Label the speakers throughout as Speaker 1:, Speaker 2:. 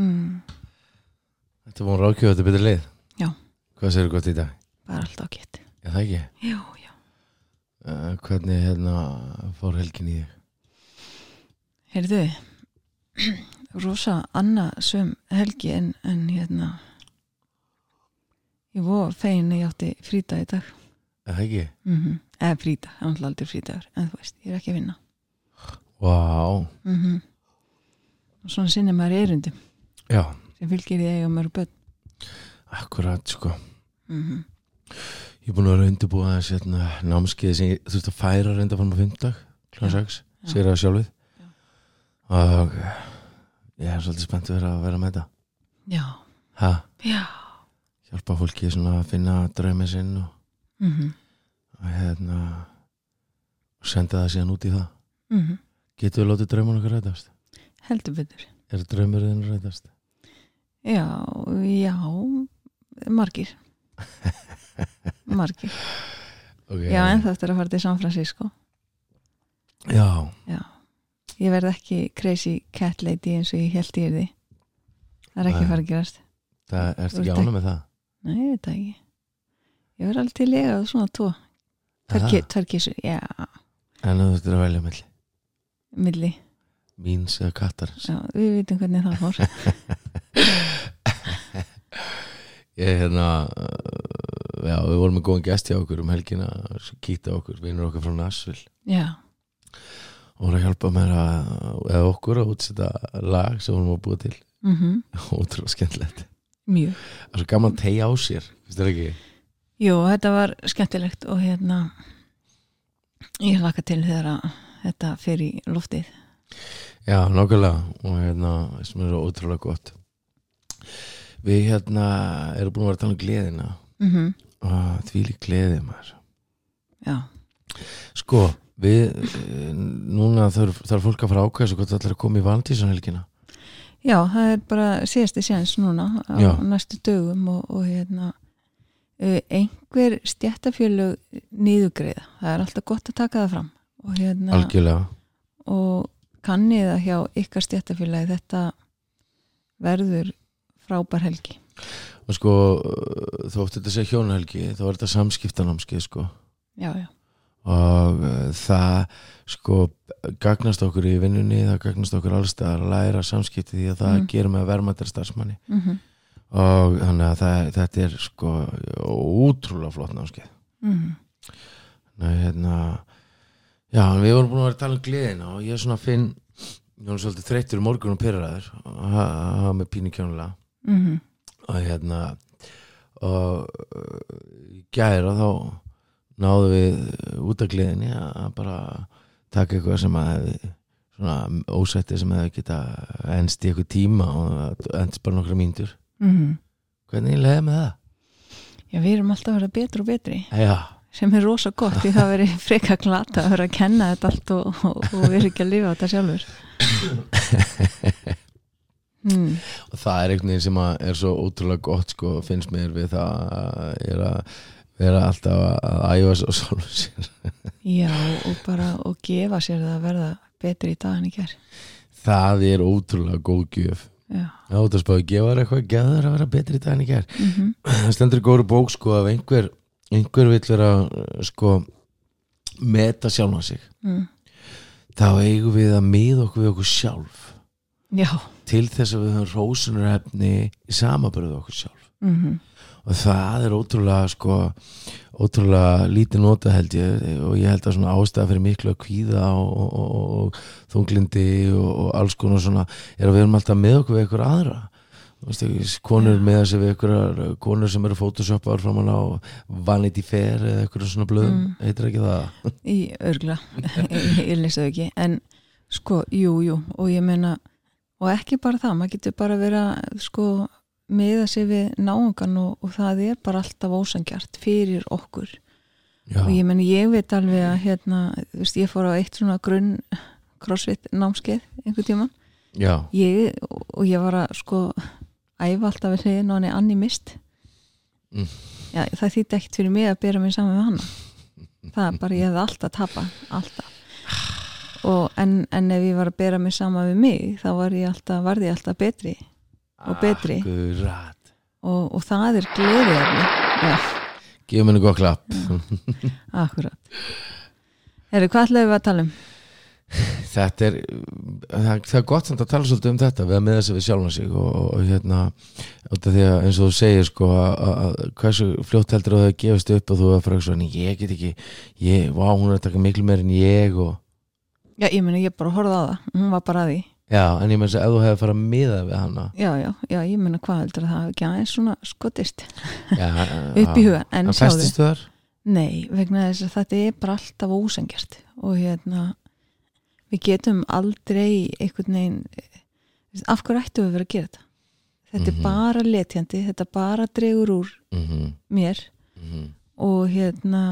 Speaker 1: Mm,
Speaker 2: ok, þetta er betur leið
Speaker 1: Já.
Speaker 2: Hvað séu gott í dag?
Speaker 1: bara alltaf geti
Speaker 2: Ég það ekki
Speaker 1: já, já,
Speaker 2: uh, Hvernig hérna fór helgin í þig?
Speaker 1: heyrðu rosa anna sum helgi en, en hérna ég voru fegin að ég átti frýta í dag
Speaker 2: Er það ekki?
Speaker 1: mm eða frýta, hann ætla aldrei frýtaður en þú veist, ég er ekki að vinna
Speaker 2: Vá,
Speaker 1: mm og svona sinni maður erundum
Speaker 2: já,
Speaker 1: sem fylgir í eiga mörg börn
Speaker 2: akkurat sko
Speaker 1: mm -hmm.
Speaker 2: Ég er búin að vera að undirbúa þess hérna, námskeið sem ég þurfti að færa reynda fram á fimmtag, kláðan
Speaker 1: Já,
Speaker 2: sex,
Speaker 1: já.
Speaker 2: sér það sjálfið
Speaker 1: Já.
Speaker 2: og ég er svolítið spennt að vera, að vera með þetta
Speaker 1: já,
Speaker 2: ha,
Speaker 1: já
Speaker 2: hjálpa fólki svona að finna draumið sinn og,
Speaker 1: mm -hmm.
Speaker 2: og hérna og senda það síðan út í það Getur við látið draumun okkur rætast?
Speaker 1: Mhm. heldur betur
Speaker 2: Er draumurinn rætast?
Speaker 1: já, já margir margir,
Speaker 2: Okay.
Speaker 1: já en þetta er að fara til San Francisco
Speaker 2: Já,
Speaker 1: Já, ég verð ekki crazy cat lady eins og ég held ég er því Það er ekki
Speaker 2: Nei.
Speaker 1: að fara að gerast
Speaker 2: það ert
Speaker 1: Þú
Speaker 2: ekki
Speaker 1: ert
Speaker 2: ána með það
Speaker 1: Nei, ég veit það ekki Ég verð alveg til lega og svona tvo
Speaker 2: Er
Speaker 1: Tvær
Speaker 2: það?
Speaker 1: ki- Tvær kísu, já,
Speaker 2: En þú þurftir að velja melli
Speaker 1: milli
Speaker 2: Míns eða kattar
Speaker 1: já, Við vitum hvernig það fór
Speaker 2: Ég er hérna uh, Já, við vorum með góðan gest hjá okkur um helgina svo kíkti á okkur, vinur okkar frá Nashville
Speaker 1: Já,
Speaker 2: og voru að hjálpa mér að eða okkur að útsetta lag sem vorum að búa til
Speaker 1: mhm,
Speaker 2: Ótrúlega skemmtilegt
Speaker 1: mjög
Speaker 2: Það er svo gaman að tegja á sér, finnst þér ekki?
Speaker 1: Jú, þetta var skemmtilegt og hérna Ég laka til þegar að þetta fer í loftið
Speaker 2: Já, nokkulega og hérna, sem er svo ótrúlega gott Við hérna erum búin að vera að tala um gleðina
Speaker 1: mm
Speaker 2: og því lík gleði maður
Speaker 1: Já,
Speaker 2: Sko, við eh, núna þarf, þarf fólk að fara að ákveða svo hvort það ætlar að koma í vandísanhelgina
Speaker 1: Já, það er bara síðasti séns núna á
Speaker 2: Já.
Speaker 1: næstu dögum og, og hérna eh, einhver stjættafjölug nýðugreiða, það er alltaf gott að taka það fram og hérna
Speaker 2: Algjörlega
Speaker 1: og kannið að hjá ykkar stjættafjölagi þetta verður frábær helgi
Speaker 2: og sko uh, þótt þetta sé hjónahelgi þá er þetta samskiptanámskið sko
Speaker 1: Já, já,
Speaker 2: og uh, það sko gagnast okkur í vinnunni það gagnast okkur allstæðar að læra samskipti því að það
Speaker 1: Mm.
Speaker 2: mm. gerum við að vermaðar starfsmanni
Speaker 1: mm -hmm.
Speaker 2: og þannig að það, þetta er sko ótrúlega flott námskið
Speaker 1: Mhm.
Speaker 2: Nei, hérna já, en við vorum búin að vera að tala um gleðina og ég er svona að finn ég er svolítið þreyttur í morgun og pyrraður að hafa með pínu kjónulega
Speaker 1: Mhm.
Speaker 2: og hérna og uh, í gæra þá náðum við út af gleðinni að bara taka eitthvað sem að hefði svona ósætti sem hefði geta ennst í eitthvað tíma og ennst bara nokkra mínútur hvernig leiði með það?
Speaker 1: Mhm. Já, við erum alltaf að vera betri og betri
Speaker 2: Já,
Speaker 1: sem er rosa gott því það veri freka glata að vera að kenna þetta allt og, og, og vera ekki að lifa þetta sjálfur mm.
Speaker 2: og það er einhvern veginn sem að er svo ótrúlega gott sko, finnst mér við það er að vera alltaf að æfa svo sjálfum sér
Speaker 1: Já, og bara og gefa sér það að verða betri í dag en í gær
Speaker 2: það er ótrúlega góð gjöf
Speaker 1: Já,
Speaker 2: Já, þú spáðu gefa þér eitthvað, gefa þér að vera betri í dag en í gær
Speaker 1: mm
Speaker 2: það stendur í góru bók sko að einhver, einhver vill vera uh, sko meta sjálfan sig
Speaker 1: mm.
Speaker 2: þá eigum við að miða okkur við okkur sjálf
Speaker 1: já
Speaker 2: til þess að við höfum rósunarefni í samaburðu við okkur sjálf
Speaker 1: mm
Speaker 2: og það er ótrúlega sko ótrúlega lítið nota held ég og ég held að svona ástæða fyrir miklu að kvíða og, og, og, og þunglindi og, og alls konar svona er að við erum alltaf með okkur við ykkur aðra Þú veist, ekki, konur með þessi við ykkur konur sem eru photoshoppaður framan á Vanity Fair eða ykkur svona blöðum
Speaker 1: Mm.
Speaker 2: heitir ekki það
Speaker 1: Í örgla, ég, ég lýsa þau ekki en sko, jú, jú og ég meina, og ekki bara það maður getur bara verið að sko miða sér við náungan og, og það er bara alltaf ósangjart fyrir okkur
Speaker 2: já,
Speaker 1: og ég meni ég veit alveg að hérna, þú veist, ég fór á eitt svona grunn crossfit námskeið einhver tíma,
Speaker 2: já,
Speaker 1: ég og ég var að sko æfa alltaf við hliðin og hann er Anni mist
Speaker 2: Mm.
Speaker 1: já, það þýtti ekkert fyrir mig að bera mig saman við hana það er bara, ég hefði alltaf að tapa alltaf og en, en ef ég var að bera mig saman við mig þá var ég alltaf, varði ég alltaf betri og betri.
Speaker 2: Akkurat.
Speaker 1: og, og það er gleðið já,
Speaker 2: gefum henni góð klapp
Speaker 1: Mm. akkurat Herri, hvað ætlaðum við að tala um?
Speaker 2: þetta er það, það er gott samt að tala svolítið um þetta við að miða sig við sjálfan sig og, og, og hérna út af því að eins og þú segir sko að- að að hversu fljótt heldur að það gefist upp og þú er fyrir svona ég get ekki ég, vá hún er að taka miklu meir en ég og
Speaker 1: Já, ég meni, ég bara horfði á það, hún var bara að því
Speaker 2: já en ég menn að ef þú hefði farið að miða við hana
Speaker 1: Já, já, já, ég meni, hvað heldur að það hafi ekki aðeins svona skotist
Speaker 2: já,
Speaker 1: upp í hugan, en
Speaker 2: en
Speaker 1: sjáðu
Speaker 2: festist þar
Speaker 1: Nei, vegna þess að þetta er bara alltaf ósengjart og hérna við getum aldrei einhvern veginn af hverju ættum við að vera að gera þetta þetta
Speaker 2: Mhm.
Speaker 1: er bara letjandi, þetta bara dregur úr
Speaker 2: mm -hmm,
Speaker 1: mér
Speaker 2: mhm.
Speaker 1: og hérna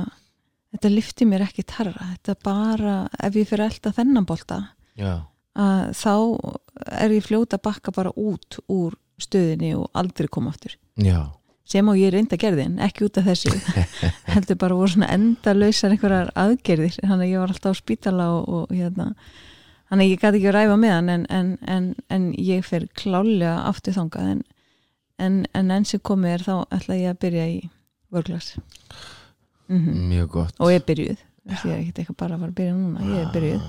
Speaker 1: þetta lifti mér ekki tarra þetta bara, ef ég fyrir elda þennan bolta
Speaker 2: já,
Speaker 1: að þá er ég fljóta að bakka bara út úr stöðinni og aldrei koma aftur
Speaker 2: já,
Speaker 1: sem á ég reynda gerðin, ekki út af þessu heldur bara voru svona endalausar einhverjar aðgerðir, þannig að ég var alltaf á spítala og, og hérna þannig að ég gæti ekki að ræfa með hann en, en, en, en ég fer klálega aftur þangað en, en, en enn sem komið er þá ætla ég að byrja í vörglas mm
Speaker 2: mjög gott
Speaker 1: og ég er byrjuð því ég er ekkert eitthvað bara að fara að byrja núna ég er byrjuð,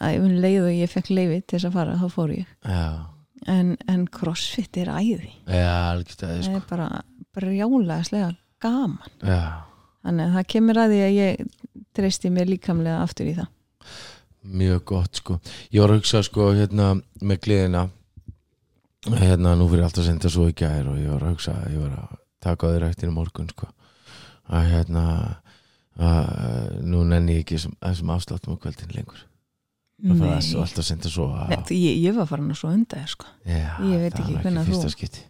Speaker 1: að ég mun leið og ég fekk leiði til þess að fara, þá fór ég
Speaker 2: já,
Speaker 1: en, en crossfit er æði
Speaker 2: já, sko, algjörst aðeins
Speaker 1: það er bara brjálaðislega gaman
Speaker 2: já,
Speaker 1: þannig að það kemur að því að ég treysti mér líkamlega aftur í það
Speaker 2: mjög gott sko ég var að hugsa sko hérna með gleðina hérna nú fyrir allt að senda svo í gær og ég var að hugsa ég var að taka á þér eftir í morgun sko að hérna að nú nenni ég ekki sem, þessum afsláttum á kvöldin lengur það fyrir að svo
Speaker 1: Nei,
Speaker 2: allt að senda svo að,
Speaker 1: þú- ég, ég var farin að svo unda þér sko
Speaker 2: já,
Speaker 1: ég veit ekki
Speaker 2: það var
Speaker 1: hvenær
Speaker 2: fyrsta
Speaker 1: þú-
Speaker 2: skipti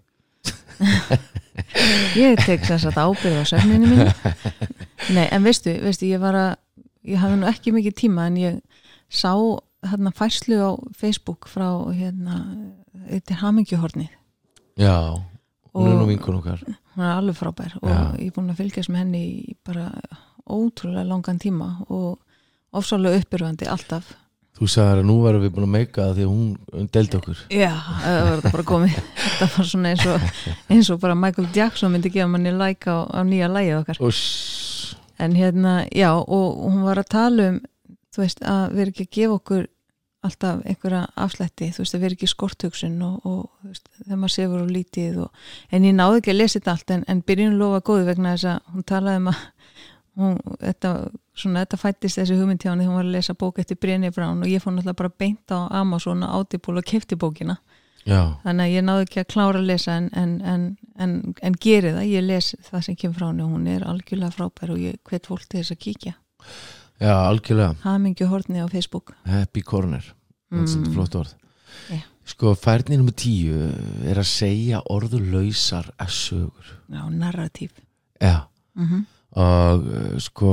Speaker 1: ég tek þess að ábyrða á söfninu mínu nei en veistu, veistu ég var að ég hafði nú ekki mikið tíma en ég sá hérna færslu á Facebook frá hérna þetta er hamingjuhornið
Speaker 2: já, hún er
Speaker 1: Og-
Speaker 2: nú vinkun okkar
Speaker 1: hún er alveg frábær og
Speaker 2: Já.
Speaker 1: ég er búin að fylgjast með henni í bara ótrúlega langan tíma og ofsálega uppbyrfandi alltaf
Speaker 2: þú sagðar að nú varum við búin að meika það því að hún deldi okkur
Speaker 1: Já, það var þetta bara komið þetta var svona eins og, eins og bara Michael Jackson myndi gefa manni like á, á nýja lægið okkar
Speaker 2: Uss.
Speaker 1: en hérna, já, og hún var að tala um þú veist, að við erum ekki að gefa okkur alltaf einhverja afslætti þú veist, að við erum ekki skorthugsun og, og þú veist, þegar maður sefur og lítið og, en ég náði ekki að lesa þetta allt en, en byrjun lofa góð vegna þess að hún talaði um að hún, þetta, svona, þetta fættist þessi hugmynd hjá hann þegar hún var að lesa bók eftir Brenni Brown og ég fór náttúrulega bara beint á Amazon og Audible og kefti bókina
Speaker 2: já,
Speaker 1: þannig að ég náðu ekki að klára að lesa en, en, en, en, en geri það, ég les það sem kemur frá henni og hún er algjörlega frábær og ég hvet fólk til þess að kíkja
Speaker 2: já, algjörlega
Speaker 1: hamingju hortni á Facebook
Speaker 2: Happy Corner mm.
Speaker 1: Mm.
Speaker 2: flott orð
Speaker 1: Já.
Speaker 2: sko færni nummer tíu er að segja orðu lausar að sögur
Speaker 1: já, narratív
Speaker 2: já,
Speaker 1: mm
Speaker 2: og uh, sko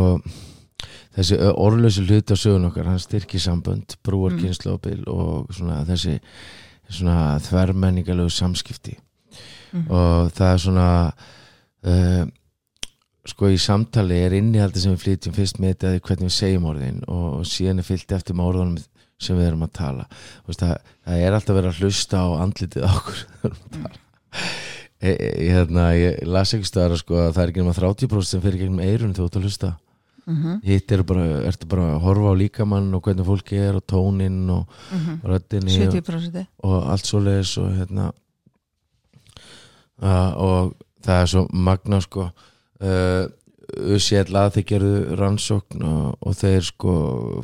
Speaker 2: þessi orðlausi hluti á sögun okkar hann styrkir sambönd, brúar
Speaker 1: Mm.
Speaker 2: mm. og svona þessi svona þvermenningalegu samskipti
Speaker 1: Mhm.
Speaker 2: og það er svona uh, sko í samtali er innihaldi sem við flytjum fyrst með þetta því hvernig við segjum orðin og, og síðan er fyllt eftir með orðunum sem við erum að tala Þú veist, það, það er alltaf verið að hlusta á andlitið á okkur þegar við erum að tala e, e, hérna, ég las ekki stöðar sko, að það er ekki nema 30% sem fyrir gegnum eirun þú ert að hlusta hitt er bara, ertu bara að horfa á líkamann og hvernig fólki er og tóninn og röddinni og,
Speaker 1: 70%
Speaker 2: og allt svo leiðis og hérna uh, og það er svo magna sko uh, UCL að þeir gerðu rannsókn og, og þeir sko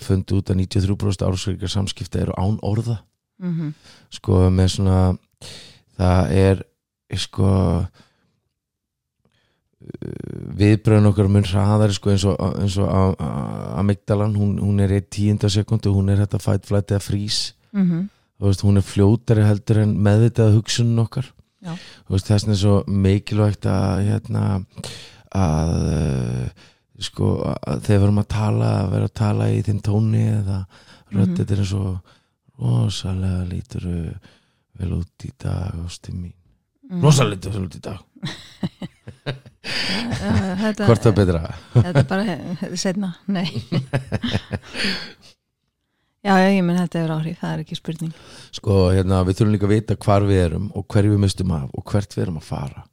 Speaker 2: fundu út að 93% ársverkar samskipta eru án orða
Speaker 1: mm -hmm.
Speaker 2: sko með svona það er sko viðbröðin okkar mun hraðar sko eins og, eins og a, a, amygdalan, hún, hún er eitt tíunda sekundu, hún er þetta fight, flight eða freeze
Speaker 1: Mm
Speaker 2: þú veist, hún er fljótari heldur en meðvitað hugsunin okkar
Speaker 1: Já.
Speaker 2: Þú veist, þess er svo mikilvægt að hérna að uh, sko, að þegar við erum að tala að vera að tala í þinn tóni eða rödd,
Speaker 1: Mhm.
Speaker 2: þetta er eins og rosalega lítur uh, vel út í dag ástu mín,
Speaker 1: Mhm.
Speaker 2: rosalega lítur vel út í dag
Speaker 1: Eh, þetta,
Speaker 2: hvort það betra
Speaker 1: þetta er bara setna, nei já, já, ég menn þetta er áhrif, það er ekki spurning
Speaker 2: sko, hérna, við þurfum líka að vita hvar við erum og hverju við mistum af og hvert við erum að fara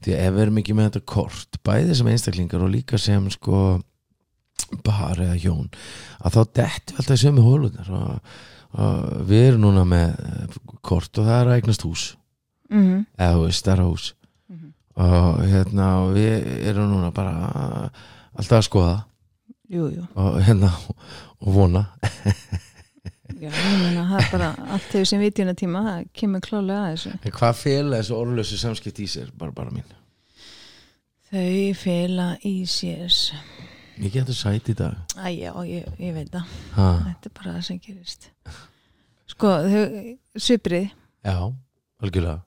Speaker 2: því að ef við erum ekki með þetta kort bæði sem einstaklingar og líka sem sko bar eða hjón að þá dettu alltaf sömu hólunar og, og við erum núna með eh, kort og það er að eignast hús
Speaker 1: Mhm.
Speaker 2: eða þú veist, stærra hús
Speaker 1: Mhm.
Speaker 2: og hérna og við erum núna bara alltaf að skoða
Speaker 1: Jú, jú.
Speaker 2: og hérna og vona
Speaker 1: Já, ég meina, það er bara allt þegar sem vitjuna tíma, það kemur klálega að þessu.
Speaker 2: En hvað félag þessu orðlösu samskipti í sér bara, bara mín
Speaker 1: Þau fela í sérs.
Speaker 2: mikið þetta sæti í dag
Speaker 1: Æ, já, ég, ég veit það.
Speaker 2: ha,
Speaker 1: Þetta er bara það sem gerist. Sko, þau, sviprið,
Speaker 2: já, algjörlega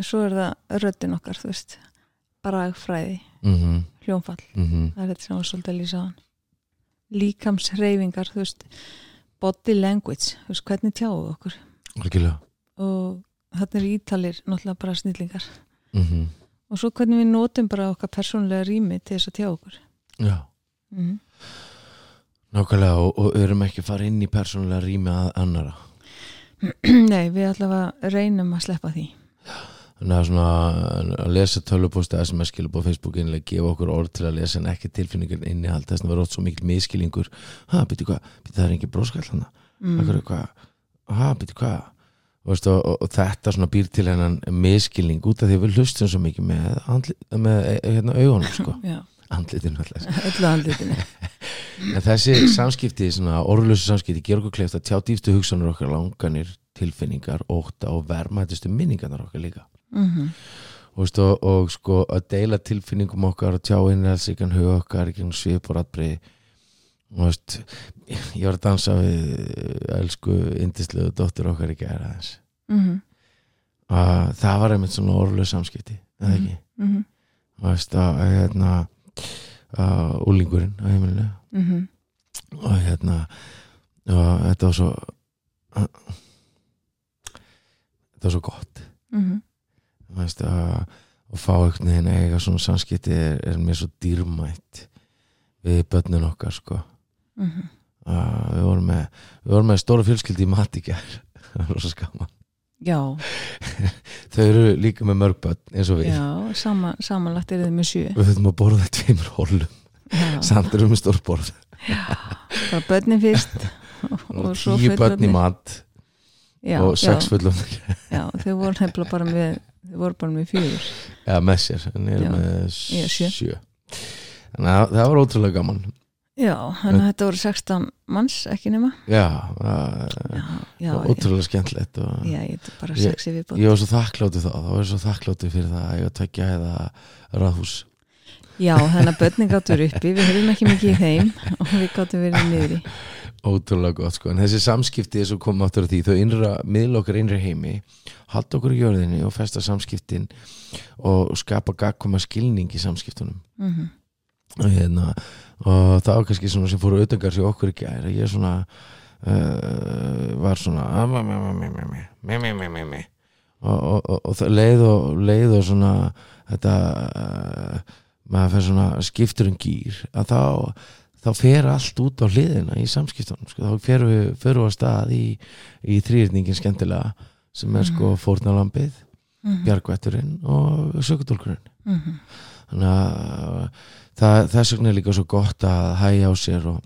Speaker 1: svo er það röddin okkar, þú veist, bragfræði,
Speaker 2: mm -hmm,
Speaker 1: hljónfall,
Speaker 2: mm
Speaker 1: það er þetta sem var svolítið að lýsa á hann. Líkamsreyfingar, þú veist, body language, þú veist, hvernig tjáðu okkur.
Speaker 2: algjörlega
Speaker 1: Og þarna eru ítalir, náttúrulega bara snillingar.
Speaker 2: mm
Speaker 1: Og svo hvernig við notum bara okkar persónlega rými til þess að tjá okkur.
Speaker 2: já
Speaker 1: Mm.
Speaker 2: Nákvæmlega og, og erum ekki að fara inn í persónulega rými að annara
Speaker 1: Nei, við allavega reynum að sleppa því.
Speaker 2: Þannig að svona að lesa tölupósta SMS skilabóð Facebook innlega gefa okkur orð til að lesa en ekki tilfinningar innihald þess að vera ótt svo mikil miskilingur ha, byrju hvað, byrju það er engin bróskall hann
Speaker 1: Mm.
Speaker 2: mm. hvað, ha, byrju hvað og, veist, og, og, og þetta svona býr til hennan miskiling út af því að við hlustum svo mikið með, andli, með eh, hérna, augunum sko,
Speaker 1: Já,
Speaker 2: andlitinu alltaf
Speaker 1: öllu andlutinu.
Speaker 2: En þessi samskipti, svona orðlösu samskipti ger okkur kleift að tjá dýfstu hugsanur okkar langanir, tilfinningar, óta og vermaðistu minningarnar okkar líka
Speaker 1: mm
Speaker 2: og, veist, og, og sko að deila tilfinningum okkar og tjá innræðsíkan hug okkar ekki svip og rættbrið og veist, ég var að dansa við eh, elsku indislegu dóttir okkar í gæra aðeins
Speaker 1: Mhm.
Speaker 2: að það var einmitt svona orðlösu samskipti eða ekki,
Speaker 1: Mhm.
Speaker 2: og veist að hérna að úlingurinn á heimilinu
Speaker 1: Mhm.
Speaker 2: og hérna og þetta var svo þetta var svo gott
Speaker 1: Mhm.
Speaker 2: Þú veist, að, að fá einhvern veginn að eiga svona samskipti er, er mér svo dýrmætt við börnin okkar sko
Speaker 1: Mhm.
Speaker 2: að við vorum með við vorum með stóra fjölskyldi í matíkjær það var svo skaman
Speaker 1: Já,
Speaker 2: þau eru líka með mörg börn eins og við
Speaker 1: já, sama, samanlagt er þið með sjö.
Speaker 2: við höfum að borða tveimur hólum
Speaker 1: Já,
Speaker 2: samt erum við stór borð
Speaker 1: bara börnin fyrst og, og
Speaker 2: og
Speaker 1: svo
Speaker 2: tíu börn í
Speaker 1: fullorðnir.
Speaker 2: mat
Speaker 1: Já,
Speaker 2: og sex
Speaker 1: já,
Speaker 2: fullum
Speaker 1: já, þau voru nefnilega bara með, þau voru bara með fjör.
Speaker 2: eða með sér, en ég
Speaker 1: Já.
Speaker 2: er með
Speaker 1: Ég er sjö.
Speaker 2: sjö þannig að það var ótrúlega gaman
Speaker 1: Já, þannig að þetta voru 16 manns, ekki nema.
Speaker 2: já, það
Speaker 1: Já, já,
Speaker 2: var ótrúlega skemmtilegt og
Speaker 1: já, ég er bara
Speaker 2: Ég-
Speaker 1: 6 í viðbótt.
Speaker 2: ég var svo þakkláttu þá, þá var ég svo þakkláttu fyrir það að ég var tvekja eða ráðhús
Speaker 1: Já, þannig að börnin gáttu verið uppi, við höfum ekki mikið í þeim og við gáttum verið niðri.
Speaker 2: ótrúlega gott sko, en þessi samskipti sem kom áttur að því, þau innra, miðl okkar innri heimi, halda okkur í jörðinni og festa samskiptin og skapa gagkoma skilning í samskiptunum
Speaker 1: Mm
Speaker 2: og, hérna, og það var kannski svona sem fóru auðvitað sem okkur ekki æra ég svona uh, var svona me, me, me, me, me, me, me, me, me, me. Og, og, og, og það leið og leið og svona þetta uh, maður fer svona skiptur um gýr að þá þá fer allt út á hliðina í samskiptunum sko. þá fer við, fer við að stað í, í þrýrningin skemmtilega sem er sko fórnalambið,
Speaker 1: Mhm.
Speaker 2: bjargvætturinn og sökutólkurinn þannig að uh, það, þess vegna er líka svo gott að hæja á sér og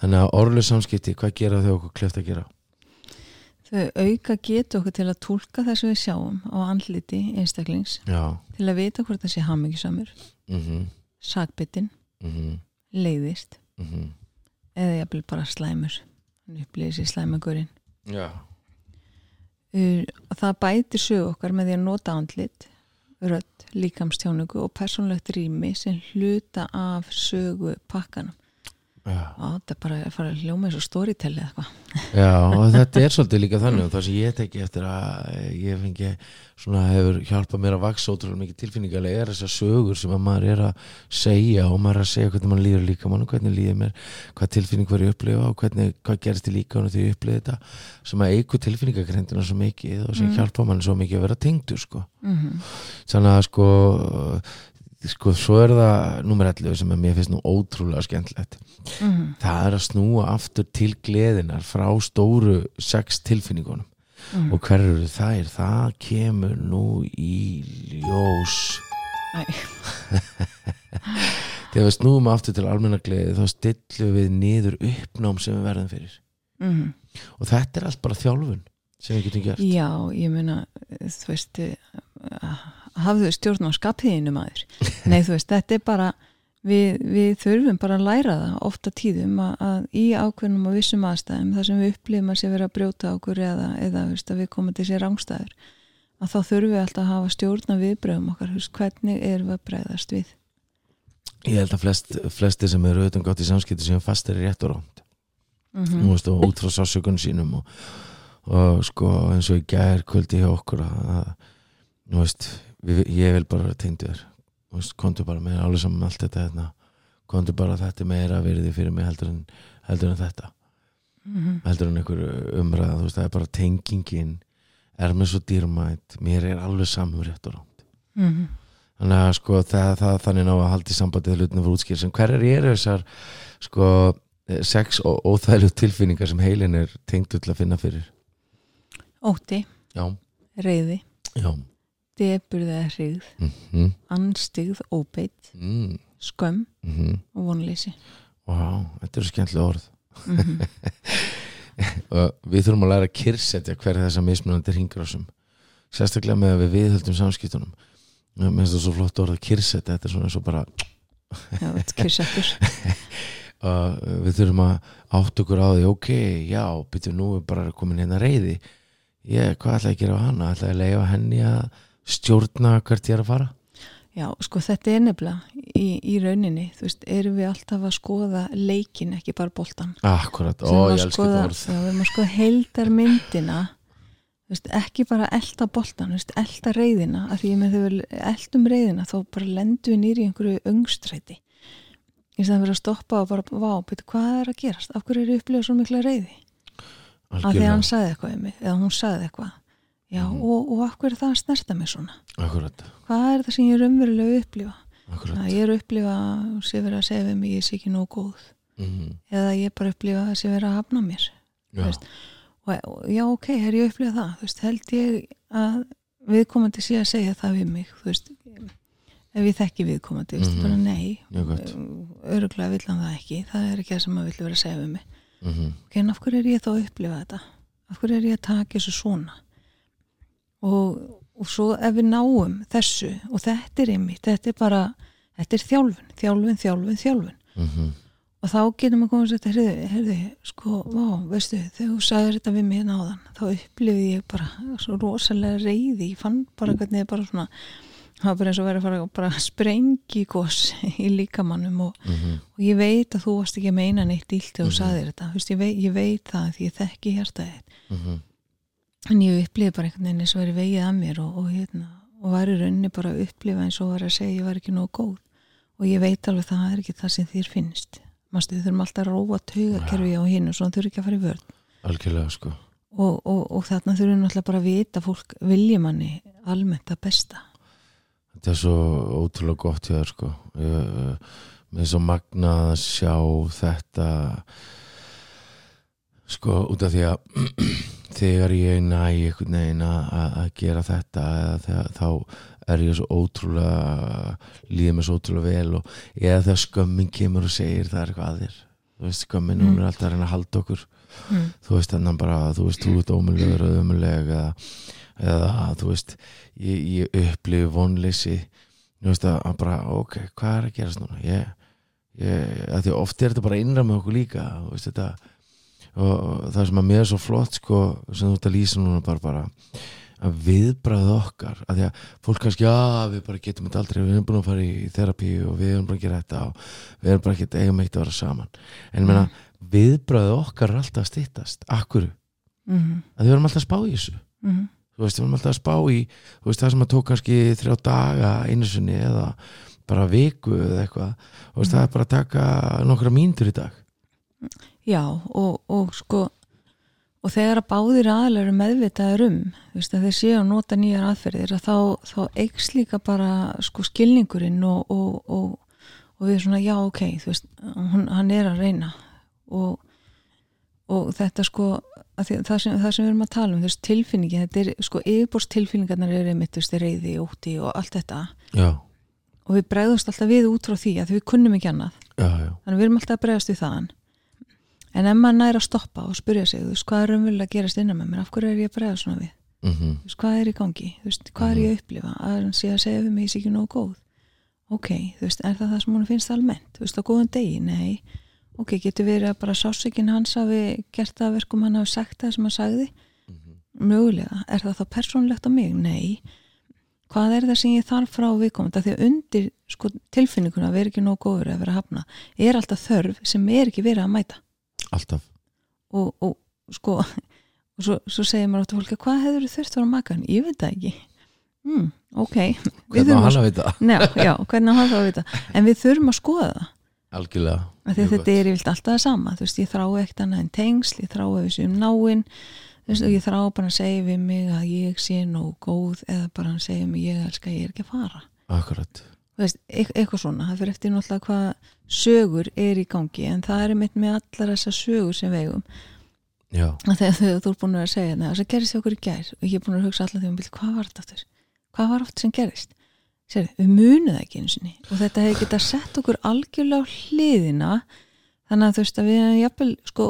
Speaker 2: þannig að orðlega samskipti, hvað gera þau okkur kleft að gera?
Speaker 1: Þau auka getu okkur til að túlka það sem við sjáum á andliti einstaklings
Speaker 2: Já,
Speaker 1: til að vita hvort það sé hamingisamur,
Speaker 2: mhm,
Speaker 1: sakbyttin,
Speaker 2: mhm,
Speaker 1: leiðist
Speaker 2: mhm
Speaker 1: eða jafnvel bara slæmur. Hann upplýðir sér slæmagurinn.
Speaker 2: Já,
Speaker 1: Uh, Það bætir sög okkar með því að nota andlit, rödd, líkamstjáningu og persónlegt rými sem hluta af sögu pakkanum.
Speaker 2: já
Speaker 1: Á, þetta er bara að fara að hljóma eins og storytelli eða eitthvað.
Speaker 2: Já, og þetta er svolítið líka þannig og það sem ég teki eftir að ég fengi svona hefur hjálpað mér að vaksa ótrúlega mikið tilfinningarlega er þessar sögur sem að maður er að segja og maður er að segja hvernig maður líður líka mann og hvernig líður mér, hvað tilfinning var ég að upplifa og hvernig, hvað gerist í líka þegar ég upplifa þetta sem að eigu tilfinningagrindina svo mikið og sem mm. hjálpa mann svo mikið að vera tengdur sko.
Speaker 1: Mm
Speaker 2: Þannig að sko, sko svo er það nummer 11 sem að mér finnst nú ótrúlega skemmtlegt
Speaker 1: mhm,
Speaker 2: það er að snúa aftur til gleðinar frá stóru sex tilfinningunum
Speaker 1: Mm.
Speaker 2: og hver eru þær? Það kemur nú í ljós
Speaker 1: Æ.
Speaker 2: Þegar við snúum aftur til almennagleði þá stillum við niður uppnám sem við verðum fyrir
Speaker 1: Mm.
Speaker 2: og þetta er allt bara þjálfun sem við getum gert
Speaker 1: Já, ég meina, þú veist, eh, hafðu stjórn á skapiðinu maður. Nei, þú veist, þetta er bara, við, við þurfum bara að læra það ofta tíðum að, að í ákveðnum og vissum aðstæðum, þar sem við upplifum að sé verið að brjóta á okkur eða, eða þú veist, að við komum til sér rángstæður, að þá þurfum við alltaf að hafa stjórn að viðbröfum okkar, þú veist, hvernig erum við að bregðast við?
Speaker 2: Ég held að flest, flesti sem eru auðvitað gott í samskipti sem fastir er rétt og rámt
Speaker 1: Mm
Speaker 2: mm. veist, og út frá sásökunum sínum og, og sko eins og í gær kvöldi hjá okkur að, að nú veist, við, ég vil bara vera tegndu þér Þú veist, komdu bara meira alveg saman með allt þetta hérna. komdu bara þetta er meira virði fyrir mig heldur en, heldur en þetta heldur en einhver umræða þú veist, það er bara tengingin er mér svo dýrmætt, mér er alveg saman rétt og rámt
Speaker 1: -hmm.
Speaker 2: þannig að sko það, það þannig ná að haldi sambandið hlutinu fyrir útskýr sem hverjar eru þessar sko eh, sex og óþælu tilfinningar sem heilin er tengd til að finna fyrir
Speaker 1: Óti,
Speaker 2: já,
Speaker 1: reyði,
Speaker 2: já
Speaker 1: deburða hrigð,
Speaker 2: mm
Speaker 1: anstigð, óbeitt,
Speaker 2: mm
Speaker 1: skömm
Speaker 2: -hmm.
Speaker 1: og vonleysi.
Speaker 2: Vá, þetta eru skemmtilega orð
Speaker 1: Mm
Speaker 2: og Uh, við þurfum að læra að kyrsetja hverja þessar mismunandi ringrásum sérstaklega með að við viðhöldum samskiptunum Mér finnst það svo flott orð að kyrsetja þetta er svona eins og bara
Speaker 1: Já, þetta er kyrsettur.
Speaker 2: uh, við þurfum að átt okkur á því ok, já, byrju nú er bara komin hérna reyði ég, hvað ætla ég að gera á hana ætla ég að leifa henni að stjórna hvert ég er að fara
Speaker 1: Já, sko þetta er nefnilega í, í rauninni, þú veist, erum við alltaf að skoða leikin, ekki bara boltan.
Speaker 2: akkurat, ó,
Speaker 1: Við erum
Speaker 2: ég
Speaker 1: að
Speaker 2: elsku
Speaker 1: skoða-
Speaker 2: þetta orð
Speaker 1: Já, við erum að skoða heildarmyndina, þú veist, ekki bara elda boltan, þú veist, elda reyðina, af því ég með þegar við eldum reyðina, þá bara lendum við nýri í einhverju öngstræti. Í staðan fyrir að stoppa og bara, vá, betur, hvað er að gerast? Af hverju eru upplifað svo mikla reyði? Af því að
Speaker 2: algjörlega,
Speaker 1: hann
Speaker 2: Mhm.
Speaker 1: sagði eitthvað um mig, eða hún sagði eitthvað. Já, og, og af hverju er það að snerta mig svona?
Speaker 2: akkurat,
Speaker 1: Hvað er það sem ég er umverulega að upplifa?
Speaker 2: akkurat.
Speaker 1: Að ég er að upplifa að sé verið að segja við mig ég sé ekki nóg góð
Speaker 2: Mm,
Speaker 1: eða ég er bara að upplifa að sé verið að hafna mér
Speaker 2: já,
Speaker 1: veist, og, og já ok, er ég að upplifa það þú veist, held ég að viðkomandi sé að segja það við mig þú veist, ef ég þekki viðkomandi mm
Speaker 2: Mhm.
Speaker 1: -hmm. bara nei,
Speaker 2: mjög gott
Speaker 1: öruglega vill hann það ekki það er ekki það sem að vill verið að segja við mig
Speaker 2: mm
Speaker 1: ok, en af hverju er ég þá að upplifa þetta? Af hverju er ég að taka þessu svona? Og, og svo ef við náum þessu og þetta er einmitt, þetta er bara, þetta er þjálfun, þjálfun, þjálfun, þjálfun.
Speaker 2: -hmm.
Speaker 1: Og þá getum við komið að þetta, heyrðu, heyrðu, sko, vá, veistu, þegar þú sagðir þetta við mér náðan, þá upplifði ég bara svo rosalega reyði, ég fann bara hvernig ég bara svona, það var bara eins og verið að fara bara að sprengi gos í líkamannum og
Speaker 2: Mm -hmm.
Speaker 1: og ég veit að þú varst ekki að meina neitt illt og mm -hmm. saðir þetta, Þú veist, ég, veit, ég veit það því ég þekki hjarta þitt
Speaker 2: Mm -hmm.
Speaker 1: en ég upplifði bara einhvern veginn eins og verið vegið að mér og, og, hérna, og var í rauninni bara að upplifa eins og var að segja ég var ekki nóg góð og ég veit alveg það er ekki það sem þér finnst Manstu, við þurfum alltaf að róa taugakerfi á hinn og svona þurfum ekki að fara í vörð
Speaker 2: algjörlega sko
Speaker 1: og, og, og þarna þurfum við náttúrulega bara að vita að fólk viljimanni almennt að besta
Speaker 2: þetta er svo ótrúlega gott hjá þér sko Ég- mér er svo magna að sjá þetta sko út af því að þegar ég næ einhvern veginn að- að að gera þetta eða þegar, þá er ég svo ótrúlega líður mér svo ótrúlega vel og eða þegar skömmin kemur og segir það er eitthvað að þér þú veist skömmin, hún er alltaf að reyna að halda okkur
Speaker 1: mm.
Speaker 2: þú veist hennan bara þú veist, þú ert ómulegur og ömuleg eða, eða þú veist ég, ég upplifu vonleysi þú veist að, að bara, ok, hvað er að gerast núna ég, ég að því oft er þetta bara innra með okkur líka þú veist þetta og, og það sem að mér er svo flott sko, sem þú ert að lýsa núna bara, bara að viðbrað okkar að því að fólk kannski, já, við bara getum þetta aldrei við erum búin að fara í terapíu og við erum bara að gera þetta og við erum bara ekki eigum eitt að vera saman en ég meina, viðbröðu okkar er alltaf að stýttast akkur,
Speaker 1: Mm
Speaker 2: að við verum alltaf að spá í þessu
Speaker 1: -hmm.
Speaker 2: þú veist, við verum alltaf að spá í þú veist, það sem að tók kannski þrjá daga einu sinni eða bara viku eða eitthvað, þú veist, það er bara að taka nokkra mínútur í dag
Speaker 1: Já, og, og sko og þegar að báðir aðlar eru meðvitaðir um, þú veist, að þeir séu að nota nýjar aðferðir, að þá, þá eiks líka bara sko skilningurinn og, og, og, og við svona, já, ok þú veist, hún, hann er að reyna og, og þetta sko að því, það, sem, það sem við erum að tala um, þessu tilfinningi þetta er sko yfirbórst tilfinningarnar eru einmitt þú veist, reyði, ótti og allt þetta
Speaker 2: já,
Speaker 1: og við bregðumst alltaf við út frá því að því við kunnum ekki annað
Speaker 2: já, já,
Speaker 1: þannig við erum alltaf að bregðast við þaðan en ef maður næra að stoppa og spyrja sig þú veist, hvað er raunverulega að gerast innan með mér af hverju er ég að bregða svona við,
Speaker 2: mhm
Speaker 1: þú veist, hvað er í gangi þú veist, hvað er ég að upplifa, að hann sé að segja við mig ég sé ekki nógu góð ok, þú veist, er það það sem hún finnst almennt þú veist, á góðan degi, nei ok, getur verið að bara sásökin hans hafi gert það að verkum hann hafi sagt það sem hann sagði mögulega, er það þá persónlegt á mig, nei hvað er það sem ég þarf frá viðkomandi af því að undir sko, tilfinninguna að vera ekki nógu góður eða vera hafna er alltaf þörf sem er ekki verið að mæta
Speaker 2: alltaf
Speaker 1: og, og sko og svo, svo segir maður áttu fólki hvað hefur þurft að vera makan, ég veit það ekki mm, ok
Speaker 2: hvernig
Speaker 1: Við
Speaker 2: Hérna á
Speaker 1: þurfum að
Speaker 2: hann að vita,
Speaker 1: Njá, já, hvernig á hann þá að vita en við þurfum að skoða það
Speaker 2: algjörlega
Speaker 1: af því að
Speaker 2: Mjög
Speaker 1: þetta er yfirlt alltaf það sama þú veist, ég þrái ekkert annað en tengsl ég þrái að við séum náin þú veist, og ég þrái bara að segja við mig að ég sé nóg góð eða bara hann segja mig ég elska, ég er ekki að fara
Speaker 2: gott. akkurat,
Speaker 1: þú veist, eit- eitthvað svona, það fyrir eftir náttúrulega hvað sögur er í gangi en það er mitt með allar þessar sögur sem vegum
Speaker 2: já,
Speaker 1: að þegar þú, þú er búin að vera að segja það sem gerist hjá okkur í gær og ég er búin að hugsa allar því um hvað var þetta aftur, hvað var oft sem gerist Sér, við munum það ekki einu sinni og þetta hefði getað sett okkur algjörlega á hliðina þannig að þú veist að við hefum jafnvel sko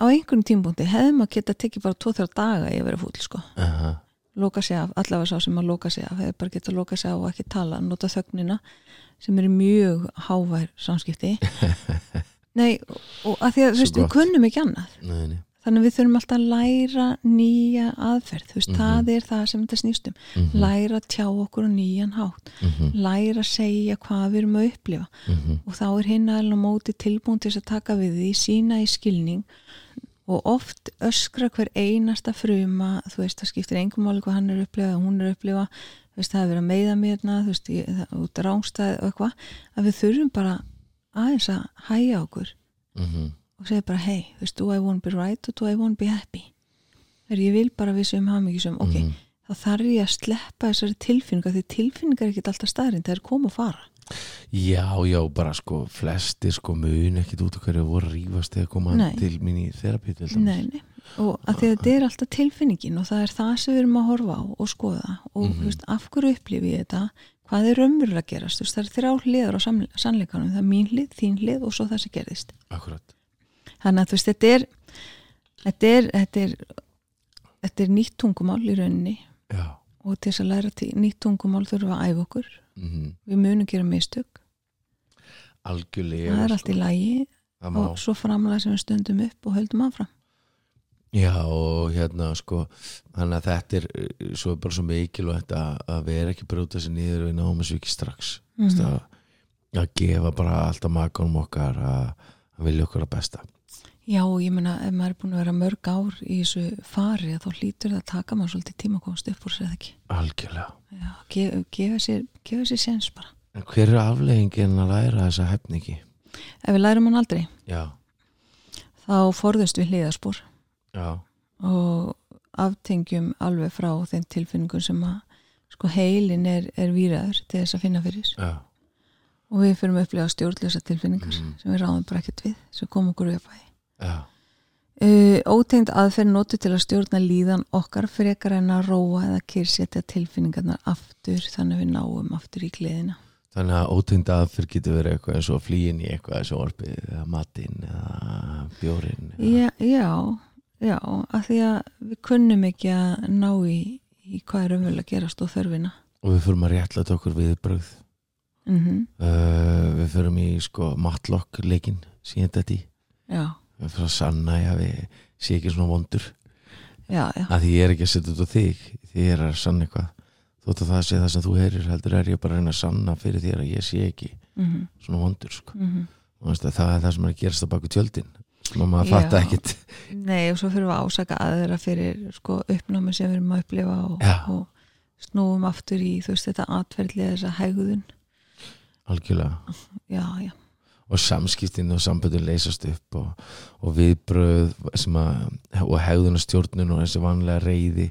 Speaker 1: á einhvern tímpúndi hefðum að geta tekið bara 2-3 daga í að vera fúll sko
Speaker 2: aha,
Speaker 1: loka sig af, allavega sá sem að loka sig af hefur bara getað að loka sig af og ekki tala nota þögnina sem eru mjög hávær samskipti Nei, og- og að því að þú
Speaker 2: Svo
Speaker 1: veist, við
Speaker 2: gott.
Speaker 1: kunnum ekki annað
Speaker 2: neðinni
Speaker 1: þannig að við þurfum alltaf að læra nýja aðferð, þú veist,
Speaker 2: Mhm.
Speaker 1: það er það sem þetta snýstum,
Speaker 2: mm -hmm.
Speaker 1: læra að tjá okkur á nýjan hátt,
Speaker 2: mm -hmm.
Speaker 1: læra að segja hvað við erum að upplifa
Speaker 2: mhm,
Speaker 1: og þá er hinn aðeins á móti tilbúin til þess að taka við því, sína í skilning og oft öskra hver einasta fruma, þú veist, það skiptir engum máli hvað hann er að upplifa, eða hún er að upplifa þú veist, það er verið að meiða mérna, þú veist ég- það- út rángstæð og eitthvað að við þurfum bara aðeins að hæja okkur
Speaker 2: mhm,
Speaker 1: og segir bara hey, þú veist, do I wanna be right og do I wanna be happy þegar ég vil bara við sem hafa mikið sem, ok,
Speaker 2: Mhm.
Speaker 1: þá þarf ég að sleppa þessari tilfinningar því tilfinningar er ekki alltaf staðrind, það er koma og fara
Speaker 2: já, já, bara sko flesti sko mun ekkit út okkar að voru að rífast eða koma
Speaker 1: Nei.
Speaker 2: til mín í þerapi til dæmis.
Speaker 1: nei, nei. og að því að þetta er alltaf tilfinningin og það er það sem við erum að horfa á og skoða og mm
Speaker 2: Mhm.
Speaker 1: veist, af hverju upplifi ég þetta hvað er ömurlega að gerast, þú veist, það er þrjá hliður á saml- sannleikanum, það er mín hlið, þín hlið og svo það sem gerðist
Speaker 2: akkurat,
Speaker 1: þannig að þú veist, þetta er þetta er, þetta er, þetta er nýtt tungumál í rauninni
Speaker 2: já
Speaker 1: og til þess að læra til nýtt tungumál þurfum við að æfa okkur
Speaker 2: mm
Speaker 1: við munum gera mistök,
Speaker 2: algjörlega
Speaker 1: það er
Speaker 2: sko,
Speaker 1: allt í lægi
Speaker 2: það má.
Speaker 1: og svo framlega sem við stöndum upp og höldum áfram
Speaker 2: Já og hérna sko þannig að þetta er eh, svo er bara svo mikilvægt að, að vera ekki að brjóta sér niður við náum þessu ekki strax mm
Speaker 1: Mhm.
Speaker 2: að, að gefa bara alltaf makanum okkar að, að vilja okkur að besta
Speaker 1: já, og ég meina, ef maður er búin að vera mörg ár í þessu fari, að þá hlýtur það að taka maður svolítið tíma að komast upp úr sér eða ekki
Speaker 2: algjörlega
Speaker 1: já, gef, gefa sér, gefa sér séns bara
Speaker 2: En hver er afleggingin að læra þessa hefni ekki?
Speaker 1: ef við lærum hann aldrei,
Speaker 2: Já,
Speaker 1: þá forðumst við hliðaspor
Speaker 2: já,
Speaker 1: og aftengjum alveg frá þeim tilfinningum sem að sko heilin er, er výraður til þess að finna fyrir
Speaker 2: já
Speaker 1: og við fyrir að upplifa stjórnlösa tilfinningar
Speaker 2: Mhm.
Speaker 1: sem við ráðum bara ekkert við sem kom okkur upp að
Speaker 2: Já,
Speaker 1: uh, ótegnd aðferð notu til að stjórna líðan okkar frekar en að róa eða kyrsetja tilfinningarnar aftur þannig að við náum aftur í gleðina
Speaker 2: þannig að ótegnd aðfyrr getur verið eitthvað eins og flýin í eitthvað þessu orpið eða matinn eða bjórin
Speaker 1: já, já, já að því að við kunnum ekki að ná í, í hvað er umvel að gerast og þörfina
Speaker 2: og við fyrir að réttlæta okkur viðbrögð
Speaker 1: mm
Speaker 2: uh, við förum í sko matlokk leikinn síðan þetta í
Speaker 1: já,
Speaker 2: við förum að sanna að við sé ekki svona vondur
Speaker 1: já, já
Speaker 2: að því ég er ekki að setja út á þig því ég er að sanna eitthvað þótt að það sé það sem þú heyrir heldur er ég bara að reyna að sanna fyrir þér að ég sé ekki
Speaker 1: mm -hmm.
Speaker 2: svona vondur sko.
Speaker 1: Mm
Speaker 2: Og veistu, það er það sem er að gerast á baku tjöldin sem að maður
Speaker 1: Já.
Speaker 2: fatta ekkit
Speaker 1: Nei, og svo fyrir við að ásaka aðra fyrir sko, uppnámi sem við erum að upplifa og,
Speaker 2: Já.
Speaker 1: og snúum aftur í þú veist þetta atferðli þessa hægðun
Speaker 2: algjörlega
Speaker 1: Já, já,
Speaker 2: og samskiptin og samböndin leysast upp og, og viðbröð sem að, og hegðunastjórnun og þessi vanlega reyði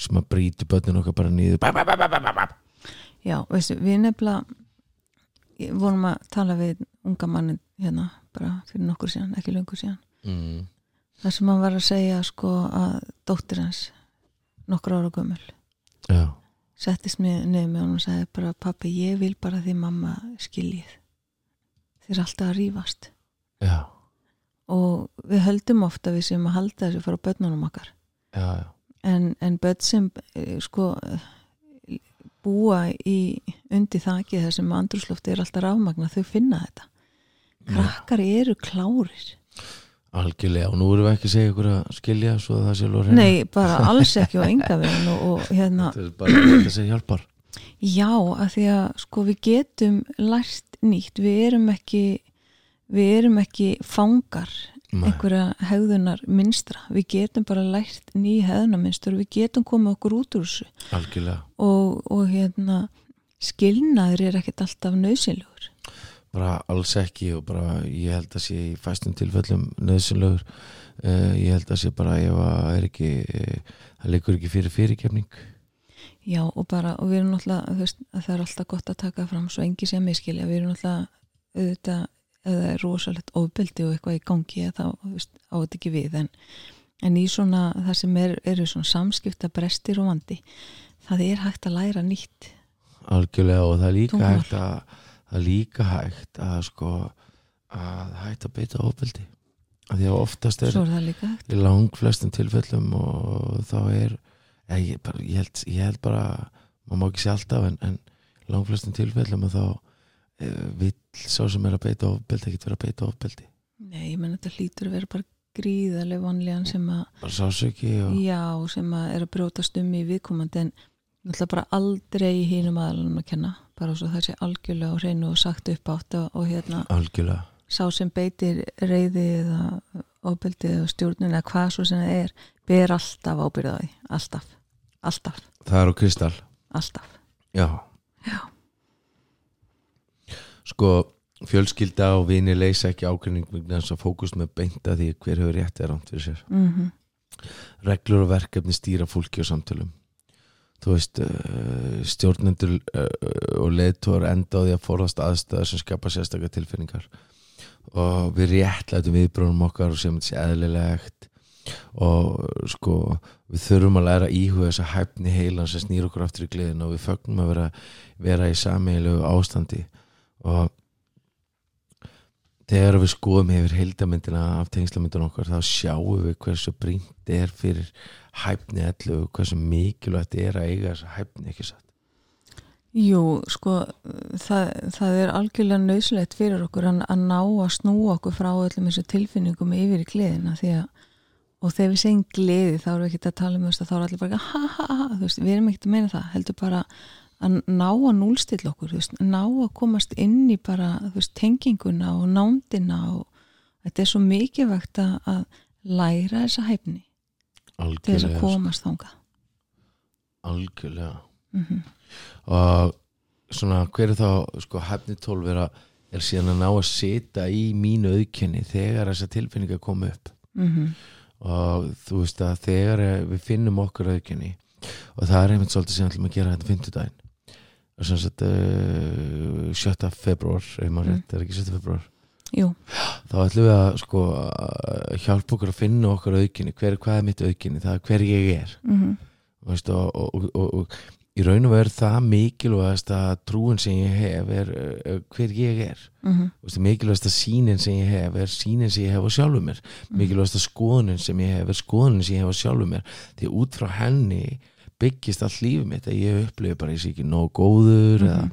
Speaker 2: sem að brýtu börnin okkar bara niður bæ, bæ, bæ, bæ, bæ, bæ.
Speaker 1: já, veistu, við nefnilega ég- vorum að tala við unga mannin hérna, bara fyrir nokkur síðan, ekki löngu síðan
Speaker 2: mm.
Speaker 1: það sem hann var að segja sko að dóttir hans nokkur ára gömul
Speaker 2: já,
Speaker 1: settist mér nefn með honum og sagði bara pappi ég vil bara því mamma skiljið þeir eru alltaf að rífast
Speaker 2: já,
Speaker 1: og við höldum ofta við sem að halda þessu frá börnunum okkar
Speaker 2: já, já.
Speaker 1: en, en börn sem eh, sko eh, búa í undir þakið þar sem andrúslofti er alltaf rafmagna þau finna þetta krakkar eru klárir
Speaker 2: algjörlega og nú erum við ekki að segja ykkur að skilja svo að það sé lóri
Speaker 1: nei, bara alls ekki og enga veginn og, og hérna,
Speaker 2: þetta er bara þetta sem hjálpar
Speaker 1: já, að því að sko við getum lært nýtt við erum ekki við erum ekki fangar
Speaker 2: Nei.
Speaker 1: einhverja hegðunar minstra við getum bara lært ný hegðunar minstur við getum komið okkur út úr þessu
Speaker 2: algjörlega,
Speaker 1: og, og hérna skilnaður er ekkert alltaf nöðsynlegur
Speaker 2: bara alls ekki og bara ég held að sé í fæstum tilfellum nöðsynlegur uh, ég held að sé bara ef að er ekki uh, það leikur ekki fyrir fyrirgefning
Speaker 1: já og bara, og við erum náttúrulega þú veist, að það er alltaf gott að taka fram svo engi sem ég skilja, við erum náttúrulega auðvitað, ef það er rosalegt ofbeldi og eitthvað í gangi, þá þú veist, á þetta ekki við, en, en í svona það sem er, eru svona samskipta brestir og vandi, það er hægt að læra nýtt,
Speaker 2: algjörlega og það er líka
Speaker 1: Tungumál.
Speaker 2: hægt að það er líka hægt að sko að hægt að beita ofbeldi af því að oftast er
Speaker 1: svo er það líka hægt
Speaker 2: í lang flestum tilfellum og þá er eða, ég, bara, ég, held, ég held bara maður má ekki sé alltaf en, en í lang flestum tilfellum að þá e, vill sá sem er að beita ofbeldi ekkert vera að beita ofbeldi
Speaker 1: nei, ég menn þetta hlýtur að vera bara gríðarlega vanlíðan sem að
Speaker 2: bara sásöki og
Speaker 1: Já, sem að er að brjótast um í viðkomandi en náttúrulega bara aldrei hínum aðalunum að kenna bara svo það sé algjörlega og reynu og sagt upp átt og, og hérna
Speaker 2: algjörlega
Speaker 1: sá sem beitir reyði eða óbyldi eða stjórnun eða hvað svo sem það er ber alltaf ábyrðaði, alltaf alltaf,
Speaker 2: það er á kristall
Speaker 1: alltaf
Speaker 2: Já. Sko, fjölskylda og vini leysa ekki ágreining vegna þess að fókus með beinta því hver hefur rétt eða rámt fyrir sér.
Speaker 1: mm
Speaker 2: Reglur og verkefni stýra fólki og samtölum. Þú veist, eh, stjórnendur eh, og leiðtóar enda á því að forðast aðstæður sem skapa sérstakar tilfinningar og við réttlætum viðbrunum okkar og sem þetta sé eðlilegt og sko við þurfum að læra að íhuga þessa hæfni heilan sem snýr okkur aftur í gleðin og við fögnum að vera, vera í sameigilegu ástandi og þegar við skoðum hefur heildamyndina af tengslamyndin okkar þá sjáum við hversu brýnt er fyrir hæfni allu og hversu mikilvægt er að eiga þessa hæfni ekki satt
Speaker 1: Jú, sko, það, það er algjörlega nöðslegt fyrir okkur að, að ná að snúa okkur frá öllum þessu tilfinningum yfir í gleðina því að, og þegar við segjum gleði þá erum við ekki að tala um þess að þá er allir bara ha ha ha, þú veist, við erum ekki að meina það heldur bara að ná að núlstilla okkur, þú veist, ná að komast inn í bara, þú veist, tenginguna og nándina og þetta er svo mikilvægt að, að læra þessa hæfni til þess að
Speaker 2: algjörlega,
Speaker 1: komast þangað.
Speaker 2: algjörlega.
Speaker 1: Mm -hmm.
Speaker 2: og svona hver er þá sko hæfni tólvera er síðan að ná að sita í mínu auðkenni þegar þessa tilfinninga kom upp
Speaker 1: mhm.
Speaker 2: og þú veist að þegar við finnum okkur auðkenni og það er einmitt svolítið sem ætlum að gera þetta fimmtudaginn og sem sagt uh, 7. februar ef maður
Speaker 1: Mm.
Speaker 2: rétt, er ekki 7. februar
Speaker 1: Jú,
Speaker 2: þá ætlum við að sko að hjálpa okkur að finna okkur auðkenni hver, hvað er mitt auðkenni, það er hver ég er
Speaker 1: mm
Speaker 2: Þú veist, og, og, og, og í raun og veru það mikilvægast að trúin sem ég hef er uh, hver ég er
Speaker 1: mhm.
Speaker 2: Þú veist, mikilvægast að sínin sem ég hef er sínin sem ég hef á sjálfu mér mikilvægast að skoðunin sem ég hef er skoðunin sem ég hef á sjálfu mér því að út frá henni byggist allt lífið mitt að ég upplifi bara að ég sé ekki nóg góður eða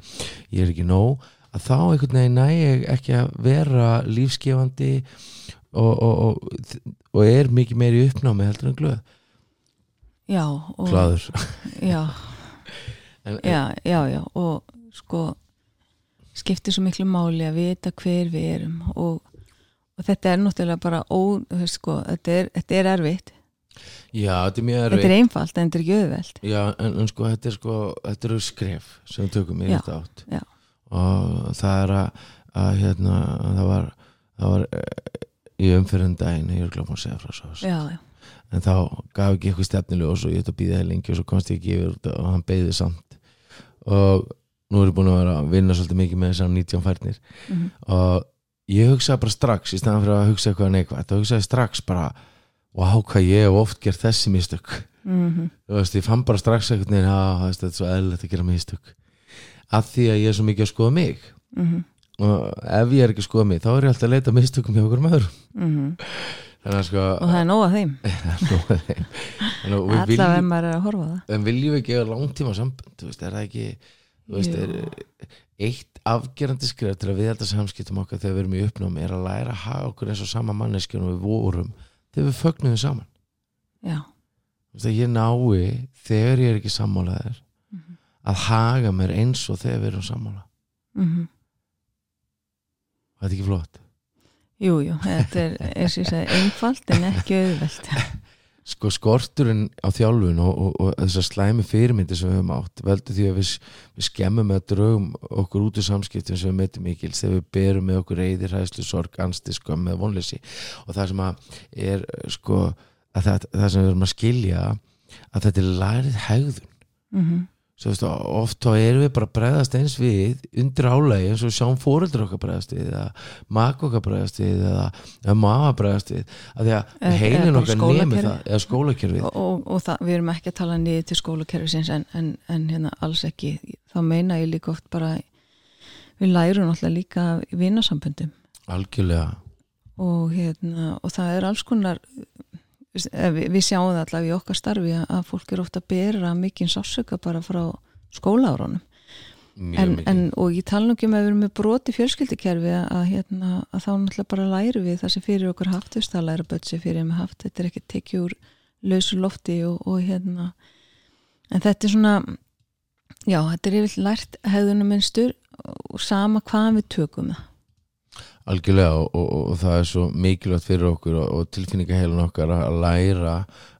Speaker 2: ég er ekki nóg að þá einhvern veginn næ ég ekki að vera lífsgefandi og, og, og, og er mikið meiri í uppnámi heldur en glöð,
Speaker 1: já. og-
Speaker 2: glæður
Speaker 1: Já,
Speaker 2: en, en-
Speaker 1: já, já, já og sko skiptir svo miklu máli að vita hver við erum og, og þetta er náttúrulega bara ó, þú veist, sko, þetta, er, þetta er erfitt
Speaker 2: Já, þetta er mjög erfitt
Speaker 1: þetta er einfalt en þetta er gjöðveld
Speaker 2: Já, en, en sko, þetta er sko, þetta eru skref sem við tökum í
Speaker 1: Já,
Speaker 2: þetta átt
Speaker 1: já.
Speaker 2: og það er að, að hérna, það var, það var eh, í umfyrir daginn, ég er glöfum að segja frá svo
Speaker 1: já, já,
Speaker 2: en þá gaf ekki eitthvað stefniljós og ég ætti að býða það lengi og svo komst ég ekki yfir þetta og hann beðið samt og nú er ég búin að vera að vinna svolítið mikið með þessar 19 færnir
Speaker 1: Mhm.
Speaker 2: og ég hugsaði bara strax í staðan fyrir að hugsa eitthvað neikvægt þá hugsaði ég strax bara wow, hvað ég hef oft gert þessi mistök
Speaker 1: mhm,
Speaker 2: þú veist, ég fann bara strax eitthvað neina, þú veist, þetta er svo eðlilegt að gera mistök af því að ég er svo mikið að skoða mig
Speaker 1: mhm,
Speaker 2: og ef ég er ekki að skoða mig þá er ég alltaf að leita að mistökum hjá okkur maður
Speaker 1: mhm.
Speaker 2: þannig að sko
Speaker 1: og það er nóg að þeim
Speaker 2: nóg af þeim. Þannig að við
Speaker 1: allavega ef
Speaker 2: viljum,
Speaker 1: maður er að horfa á það
Speaker 2: en viljum við gefa langtíma samband, þú veist, er það ekki þú veist, er, eitt afgerandi skrif til að við þetta samskiptum okkar þegar við erum í uppnámi er að læra að haga okkur eins og sama manneskjunum við vorum þegar við fögnum við saman
Speaker 1: já,
Speaker 2: Þú veist, að ég nái þegar ég er ekki sammálaðir
Speaker 1: Mhm.
Speaker 2: að haga mér eins og þegar við erum sammála
Speaker 1: mhm
Speaker 2: það er ekki flott
Speaker 1: Jú, jú, þetta er eins og ég segi einfalt en ekki auðvelt
Speaker 2: sko skorturinn á þjálfun og, og, og þessar slæmi fyrirmyndi sem við höfum átt veldur því að við, við skemmum eða draugum okkur út úr samskiptum sem við meitum mikil þegar við berum með okkur reyðir, hæslu, sorg, ansti, skömm eða vonleysi og það sem að er eh, sko að það, það sem við erum að skilja að þetta er lærið hegðun
Speaker 1: mm
Speaker 2: Svo veist, oft þá erum við bara að bregðast eins við undir álægi eins og við sjáum fóreldur okkar bregðast við eða mak okkar bregðast við eða, eða mama bregðast við af því
Speaker 1: Eða-
Speaker 2: að
Speaker 1: eða
Speaker 2: heilin
Speaker 1: bara
Speaker 2: okkar nemi
Speaker 1: skólakerfið.
Speaker 2: það eða skólakerfið
Speaker 1: og, og, og það, við erum ekki að tala niður til skólakerfisins en, en, en hérna alls ekki þá meina ég líka oft bara við lærum alltaf líka af vinasamböndum
Speaker 2: algjörlega
Speaker 1: og, hérna, og það er alls konar eh, við, við sjáum það allavega í okkar starfi að- að fólk er ofta að bera mikinn sásöka bara frá skólaárunum
Speaker 2: mjög
Speaker 1: en,
Speaker 2: mikið
Speaker 1: en, og ég tala nú ekki um að við erum með broti fjölskyldukerfi að, að, hérna, að þá náttúrulega bara læru við það sem fyrir okkur haft þú veist, það læra börn sem fyrir með haft þetta er ekki tekið úr lausu lofti og, og hérna en þetta er svona já, þetta er yfirleitt lært hefðunum minnstur og sama hvaðan við tökum það
Speaker 2: algjörlega og, og, og, og það er svo mikilvægt fyrir okkur og, og tilfinningaheilun okkar að að læra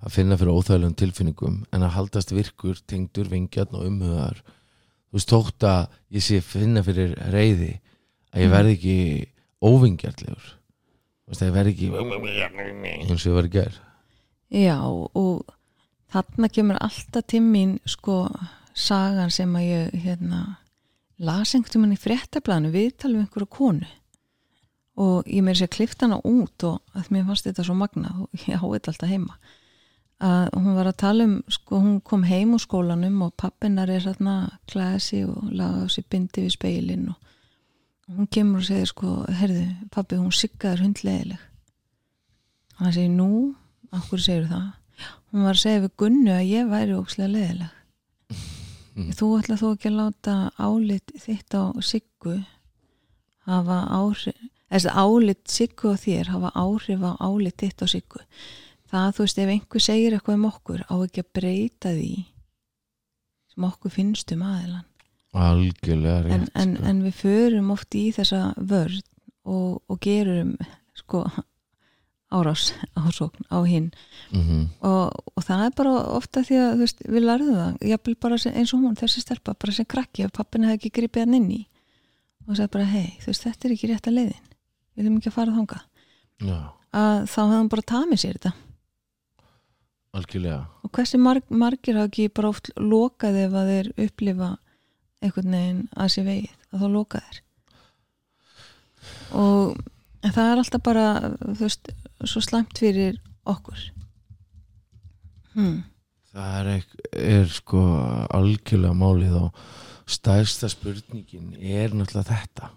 Speaker 2: að finna fyrir óþægilegum tilfinningum en að haldast virkur, tengdur, vingjarn og umhugaðar þú veist tótt að ég sé finna fyrir reyði að
Speaker 1: Mm.
Speaker 2: ég verði ekki óvingjarnlegur þú veist að ég verði ekki eins og ég var í gær
Speaker 1: já, og þarna kemur alltaf til mín sko sagan sem að ég hérna, las einhvern veginn í fréttablaðinu viðtalið við einhverju konu og ég meiri sér klift hana út og að mér fannst þetta svo magna og ég háið þetta alltaf heima að hún var að tala um, sko, hún kom heim úr skólanum og pappinar er þarna klæði sig og lagaði sig bindi við speilin og hún kemur og segir sko, herðu, pappi, hún siggaður hundleðileg og hann segir, nú, af hverju segir það hún var að segja við Gunnu að ég væri ókslega leðileg
Speaker 2: Mm.
Speaker 1: þú ætla þú ekki að láta álit þitt á Siggu hafa áhrif þessi álit Siggu á þér hafa áhrif á álit þitt á Siggu það þú veist ef einhver segir eitthvað um okkur á ekki að breyta því sem okkur finnst um aðilan
Speaker 2: algjörlega
Speaker 1: en,
Speaker 2: rétt
Speaker 1: en,
Speaker 2: sko.
Speaker 1: en við förum oft í þessa vörð og, og gerum sko árás ásókn á hinn
Speaker 2: Mhm.
Speaker 1: og, og það er bara ofta því að þú veist, við lærðum það, jafnvel bara sem, eins og hún þessi stelpa, bara sem krakki að pappina hefði ekki gripið hann inn í og sagði bara hei, þú veist, þetta er ekki rétt að leiðin við viljum ekki að fara þangað
Speaker 2: já,
Speaker 1: að þá hefði hann bara tamið sér þetta
Speaker 2: algjörlega
Speaker 1: og hversu marg, margir hafa ekki bara oft lokað ef að þeir upplifa einhvern veginn að sér vegið að þá loka þeir og en það er alltaf bara þú veist, svo slæmt fyrir okkur hmm.
Speaker 2: Það er, ekk- er sko algjörlega málið og stærsta spurningin er náttúrulega þetta.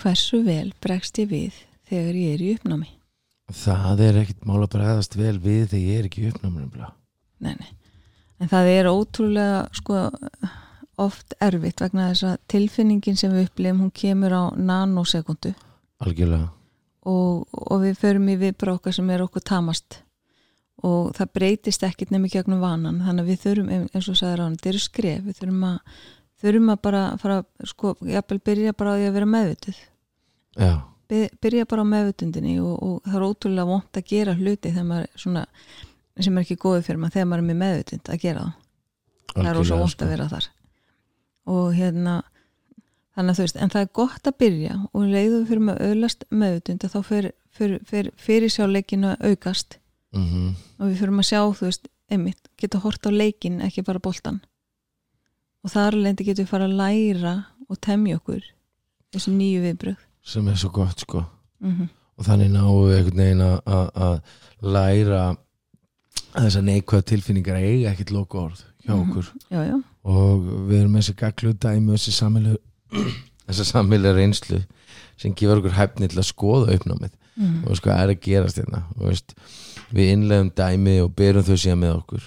Speaker 1: hversu vel bregst ég við þegar ég er í uppnámi
Speaker 2: Það er ekkit mál að bregðast vel við þegar ég er ekki uppnámurumlega.
Speaker 1: nei, nei. en það er ótrúlega sko, oft erfitt vegna þess að tilfinningin sem við upplifum hún kemur á nanosekundu
Speaker 2: Algjörlega.
Speaker 1: og, og við förum í viðbra okkar sem er okkur tamast og það breytist ekkit nefnir gegnum vanan þannig að við þurfum, ein- eins og sagði ráðan, þetta eru skref við þurfum að, þurfum að bara fara, sko, jafnvel byrja bara á því að vera meðvituð
Speaker 2: Já,
Speaker 1: By- byrja bara á meðutundinni og, og það er ótrúlega vont að gera hluti þegar maður er svona, sem er ekki góði fyrir maður þegar maður er með meðutund að gera það það er ósa
Speaker 2: algjörlega. sko.
Speaker 1: vont að vera þar og hérna þannig að þú veist, en það er gott að byrja og leiðu fyrir maður öðlast meðutund að þá fyrir, fyrir, fyrir, fyrir sjá leikinu að aukast
Speaker 2: Mm
Speaker 1: og við fyrir að sjá, þú veist, einmitt geta hort á leikin, ekki bara boltan og þar leindi getum við fara að læra og temja okkur þessu nýju viðbröð
Speaker 2: Sem er svo gott sko.
Speaker 1: mhm,
Speaker 2: og þannig náum við einhvern veginn að- að að læra að þessar neikvæða tilfinningar eiga ekkit loku orð hjá
Speaker 1: Mhm.
Speaker 2: okkur
Speaker 1: já, já,
Speaker 2: og við erum með þessi gaglu dæmi og þessi samilu þessa samilu reynslu sem gefur okkur hæfni til að skoða uppnámið
Speaker 1: mhm,
Speaker 2: og sko er að gerast hérna og veist, við innlegum dæmi og berum þau síðan með okkur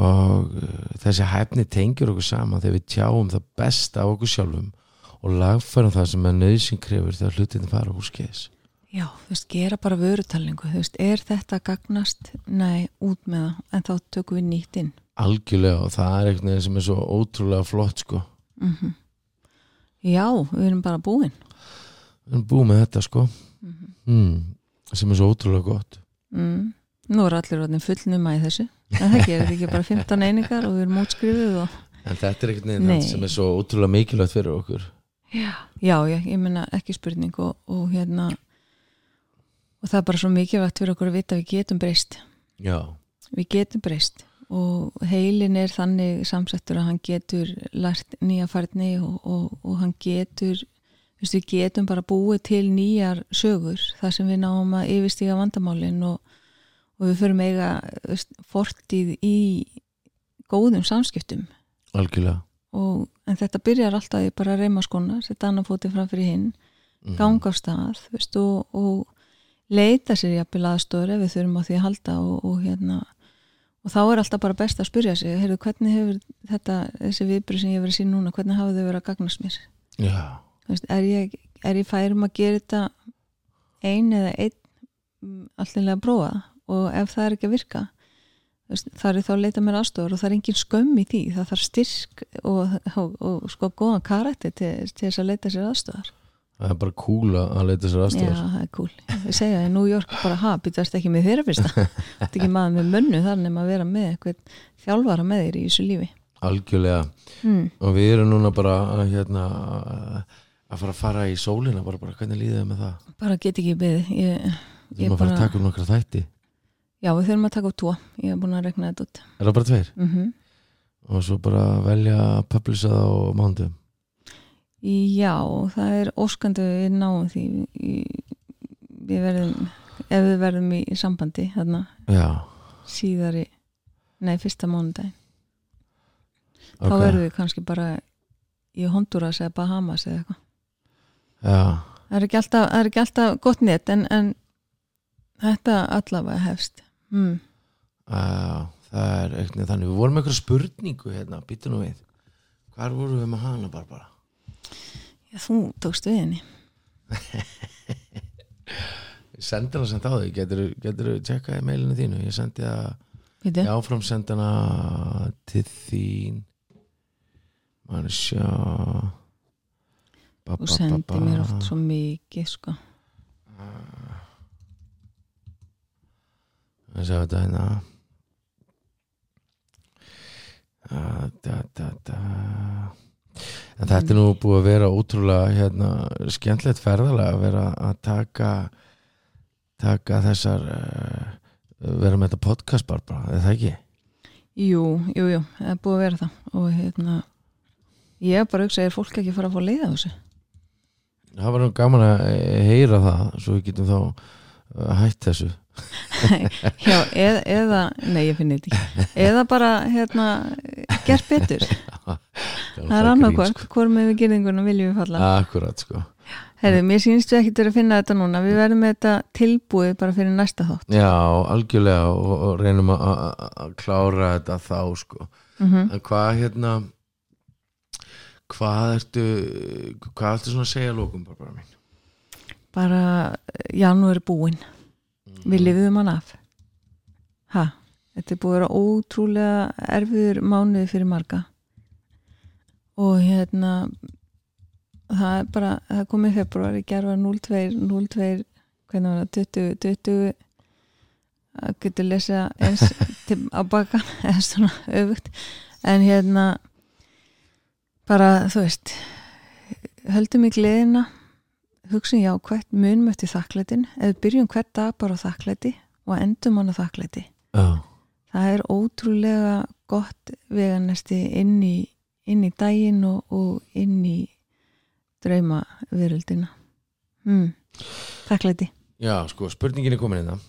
Speaker 2: og uh, þessi hæfni tengjur okkur saman þegar við tjáum það best af okkur sjálfum og lagfærum það sem er nöðsinn krefur þegar hlutin fara úr skeis
Speaker 1: já, þú veist, gera bara vörutalningu, þú veist, er þetta að gagnast, nei, út með það, en þá tökum við nýtt inn.
Speaker 2: algjörlega og það er eitthvað sem er svo ótrúlega flott sko
Speaker 1: Mhm. Já, við erum bara búin.
Speaker 2: en búið með þetta sko
Speaker 1: Mhm.
Speaker 2: mm, sem er svo ótrúlega gott
Speaker 1: Mm. Nú er allir orðin fullnuma í þessu, en það gerir þetta ekki bara 15 einingar og við erum útskrifuð og...
Speaker 2: en þetta er eitthvað
Speaker 1: Nei.
Speaker 2: sem er svo ótrúlega mikilvægt fyrir okkur
Speaker 1: Já, já, ég meina ekki spurning og, og hérna og það er bara svo mikilvægt fyrir okkur að vita að við getum breyst
Speaker 2: já,
Speaker 1: við getum breyst og heilin er þannig samsettur að hann getur lært nýja færni og, og, og hann getur þú veist, við getum bara búið til nýjar sögur þar sem við náum að yfirstíga vandamálin og, og við förum eiga þú veist, fortíð í góðum samskiptum
Speaker 2: algjörlega
Speaker 1: og, en þetta byrjar alltaf í bara reyma skona, setja annan fótið fram fyrir hinn
Speaker 2: mm.
Speaker 1: ganga á stað veist, og, og leita sér jafnvel aðstöður ef við þurfum á því að halda og, og hérna og þá er alltaf bara best að spyrja sig heyrðu, hvernig hefur þetta, þessi viðbrið sem ég hef verið að sín núna, hvernig hafa þau verið að gagnast mér
Speaker 2: já,
Speaker 1: Þú veist, er, ég, er ég færum að gera þetta ein eða einn mm, allinlega að prófa það? og ef það er ekki að virka þú veist, þar er þá að leita mér aðstofur og það er engin skömm í því, það þarf styrk og, og, og sko góðan karakter til, til þess að leita sér aðstofar
Speaker 2: það er bara kúla að leita sér aðstofar
Speaker 1: Já, það er cool. Ég segja að New York bara, ha, býtast ekki með þeirra fyrsta. Þetta er ekki maður með mönnu þar nema að vera með eitthvað þjálfara með þeir í þessu lífi.
Speaker 2: algjörlega
Speaker 1: Mm.
Speaker 2: og við erum núna bara að, hérna, að fara að fara í sólina bara, bara hvernig líðið með það
Speaker 1: Bara get ekki beðið. Ég,
Speaker 2: við
Speaker 1: ég
Speaker 2: erum að fara að
Speaker 1: bara,
Speaker 2: taka um nokkra þætti
Speaker 1: já, við þurfum að taka upp tvo. Ég er búin að rekna þetta út.
Speaker 2: er það bara tveir
Speaker 1: Mm
Speaker 2: og svo bara velja að publisa það á mándum
Speaker 1: Já, það er óskandi að við náum því. Í- Við verðum, ef við verðum í sambandi, þarna,
Speaker 2: já,
Speaker 1: síðari, nei, fyrsta mánudaginn. Þá
Speaker 2: ok
Speaker 1: verðum við kannski bara í Honduras eða Bahamas eða eitthvað.
Speaker 2: já,
Speaker 1: Það er ekki alltaf, það er ekki alltaf gott net en, en þetta allavega hefst. Mm.
Speaker 2: já, það er eitthvað þannig við vorum með eitthvað spurningu hérna, býtum nú við hvar vorum við með hana Barbara
Speaker 1: Já, þú tókst við henni.
Speaker 2: ég sendi hana sem þáði, getur þú tjekkað í mailinu þínu, ég sendi það
Speaker 1: Veitu?
Speaker 2: Ég áfram senda hana til þín maður sjá ba,
Speaker 1: Þú sendi mér oft svo mikið, sko.
Speaker 2: að sjá þetta hérna Ah, da, da, da. en þetta er
Speaker 1: Mm.
Speaker 2: nú búið að vera ótrúlega hérna, skemmtilegt ferðalega að vera að taka taka þessar uh, vera með þetta podcast bara, er það ekki?
Speaker 1: Jú, jú, jú, það er búið að vera það. Og hérna, ég er bara að hugsa, er fólk ekki að fara að fá leið af þessu?
Speaker 2: Það var nú gaman að eh, heyra það svo við getum þá uh, hætt þessu
Speaker 1: Já, eða, eða, nei, ég finn þetta ekki. Eða bara, hérna, gert betur. Það er annað hvort, hvort með við gerðinguna viljum við falla.
Speaker 2: Akkurat sko
Speaker 1: Herðu, mér sínst við ekkert vera að finna þetta núna. Við verðum með þetta tilbúið bara fyrir næsta þátt.
Speaker 2: Já, algjörlega og, og reynum að- að að klára þetta þá sko
Speaker 1: Mm
Speaker 2: En hvað hérna hvað ertu hvað ertu svona að segja að lókum bara mín?
Speaker 1: bara eh, janúar er búinn við lifum hann af ha, þetta er búið að vera ótrúlega erfiður mánuði fyrir marga og hérna það er bara, það komið februar í gerfa 02, 02 hvernig var það, 20, 20 að getur lesa eins til á baka eða svona öfugt en hérna bara, þú veist höldum í gleðina hugsun jákvætt, munum eftir þakklætin ef við byrjum hvert dag bara á þakklæti og endum hann á þakklæti
Speaker 2: Já,
Speaker 1: það er ótrúlega gott veganesti inn í, inn í daginn og, og inn í draumaveröldina mm. þakklæti
Speaker 2: Já, sko, spurningin er komin innan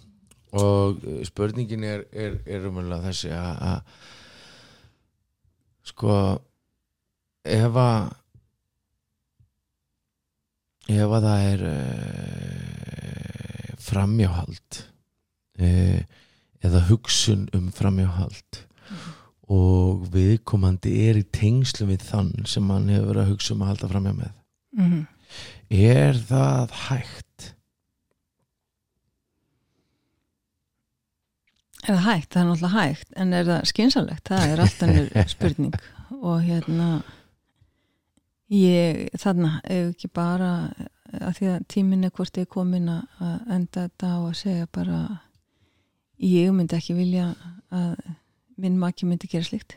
Speaker 2: og eh, spurningin er, er, er umhverjulega þessi að að- sko ef að ef að það er uh, framjáhald uh, eða hugsun um framjáhald og viðkomandi er í tengslum við þann sem hann hefur verið að hugsa um að halda framjá með
Speaker 1: mm.
Speaker 2: Er það hægt?
Speaker 1: Er það hægt? Það er náttúrulega hægt en er það skynsalegt? Það er allt ennur spurning og hérna ég, þarna ef ekki bara að því að tíminn er hvort ég er komin að- að enda þetta á að segja bara ég myndi ekki vilja að minn maki myndi gera slíkt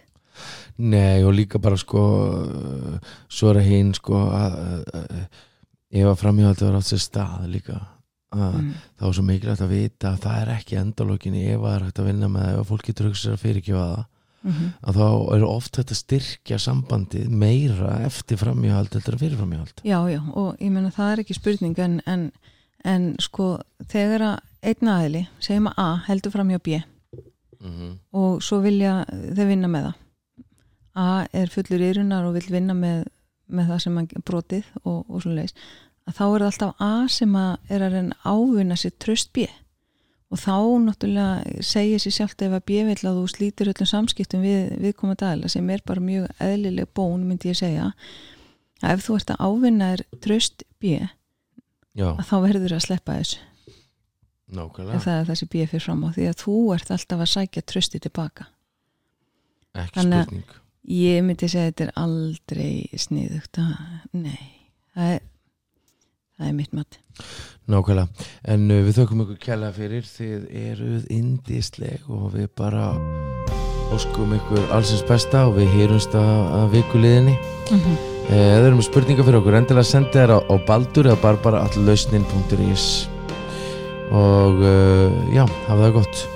Speaker 2: Nei og líka bara sko uh, svo er að hinn sko að uh, uh, ef að framhjóðaldur er átt sér stað líka að
Speaker 1: mm.
Speaker 2: þá er svo mikilvægt að vita að það er ekki endalokin ef að það er hægt að vinna með það ef að fólk getur hugsað sér að fyrirgefa það
Speaker 1: Mm
Speaker 2: að þá er oft þetta styrkja sambandið meira eftir framhjóðald heldur en fyrir framhjóðald
Speaker 1: Já, já, og ég meina það er ekki spurning en, en, en sko þegar að einn aðili, segjum að A heldur fram hjá B
Speaker 2: mm
Speaker 1: Mm-hmm.
Speaker 2: -hmm.
Speaker 1: og svo vilja þeir vinna með það A er fullur yrunar og vill vinna með, með það sem hann brotið og, og svo leis að þá er það alltaf A sem að er að reyna að ávinna sér tröst B og þá náttúrulega segir sér sjálft ef að B vill að þú slítir öllum samskiptum við, við koma dagila sem er bara mjög eðlileg bón myndi ég segja að ef þú ert að ávinna þér tröst B
Speaker 2: Já,
Speaker 1: að þá verður að sleppa þessu ef
Speaker 2: nákvæmlega
Speaker 1: það er það sem B fyrir fram á því að þú ert alltaf að sækja trösti tilbaka
Speaker 2: ekki
Speaker 1: þannig að-
Speaker 2: spurning
Speaker 1: Ég myndi segja að þetta er aldrei sniðugt að, nei, það er, það er mitt mat.
Speaker 2: Nákvæmlega, en uh, við þökkum ykkur kjalla fyrir þið eruð indisleg og við bara óskum ykkur allsins besta og við hýrumst að, að vikuliðinni
Speaker 1: Mm -hmm.
Speaker 2: eh, eða erum með spurningar fyrir okkur endilega sendi þær á, á baldur eða barbara allausnin.is og uh, já, hafa það gott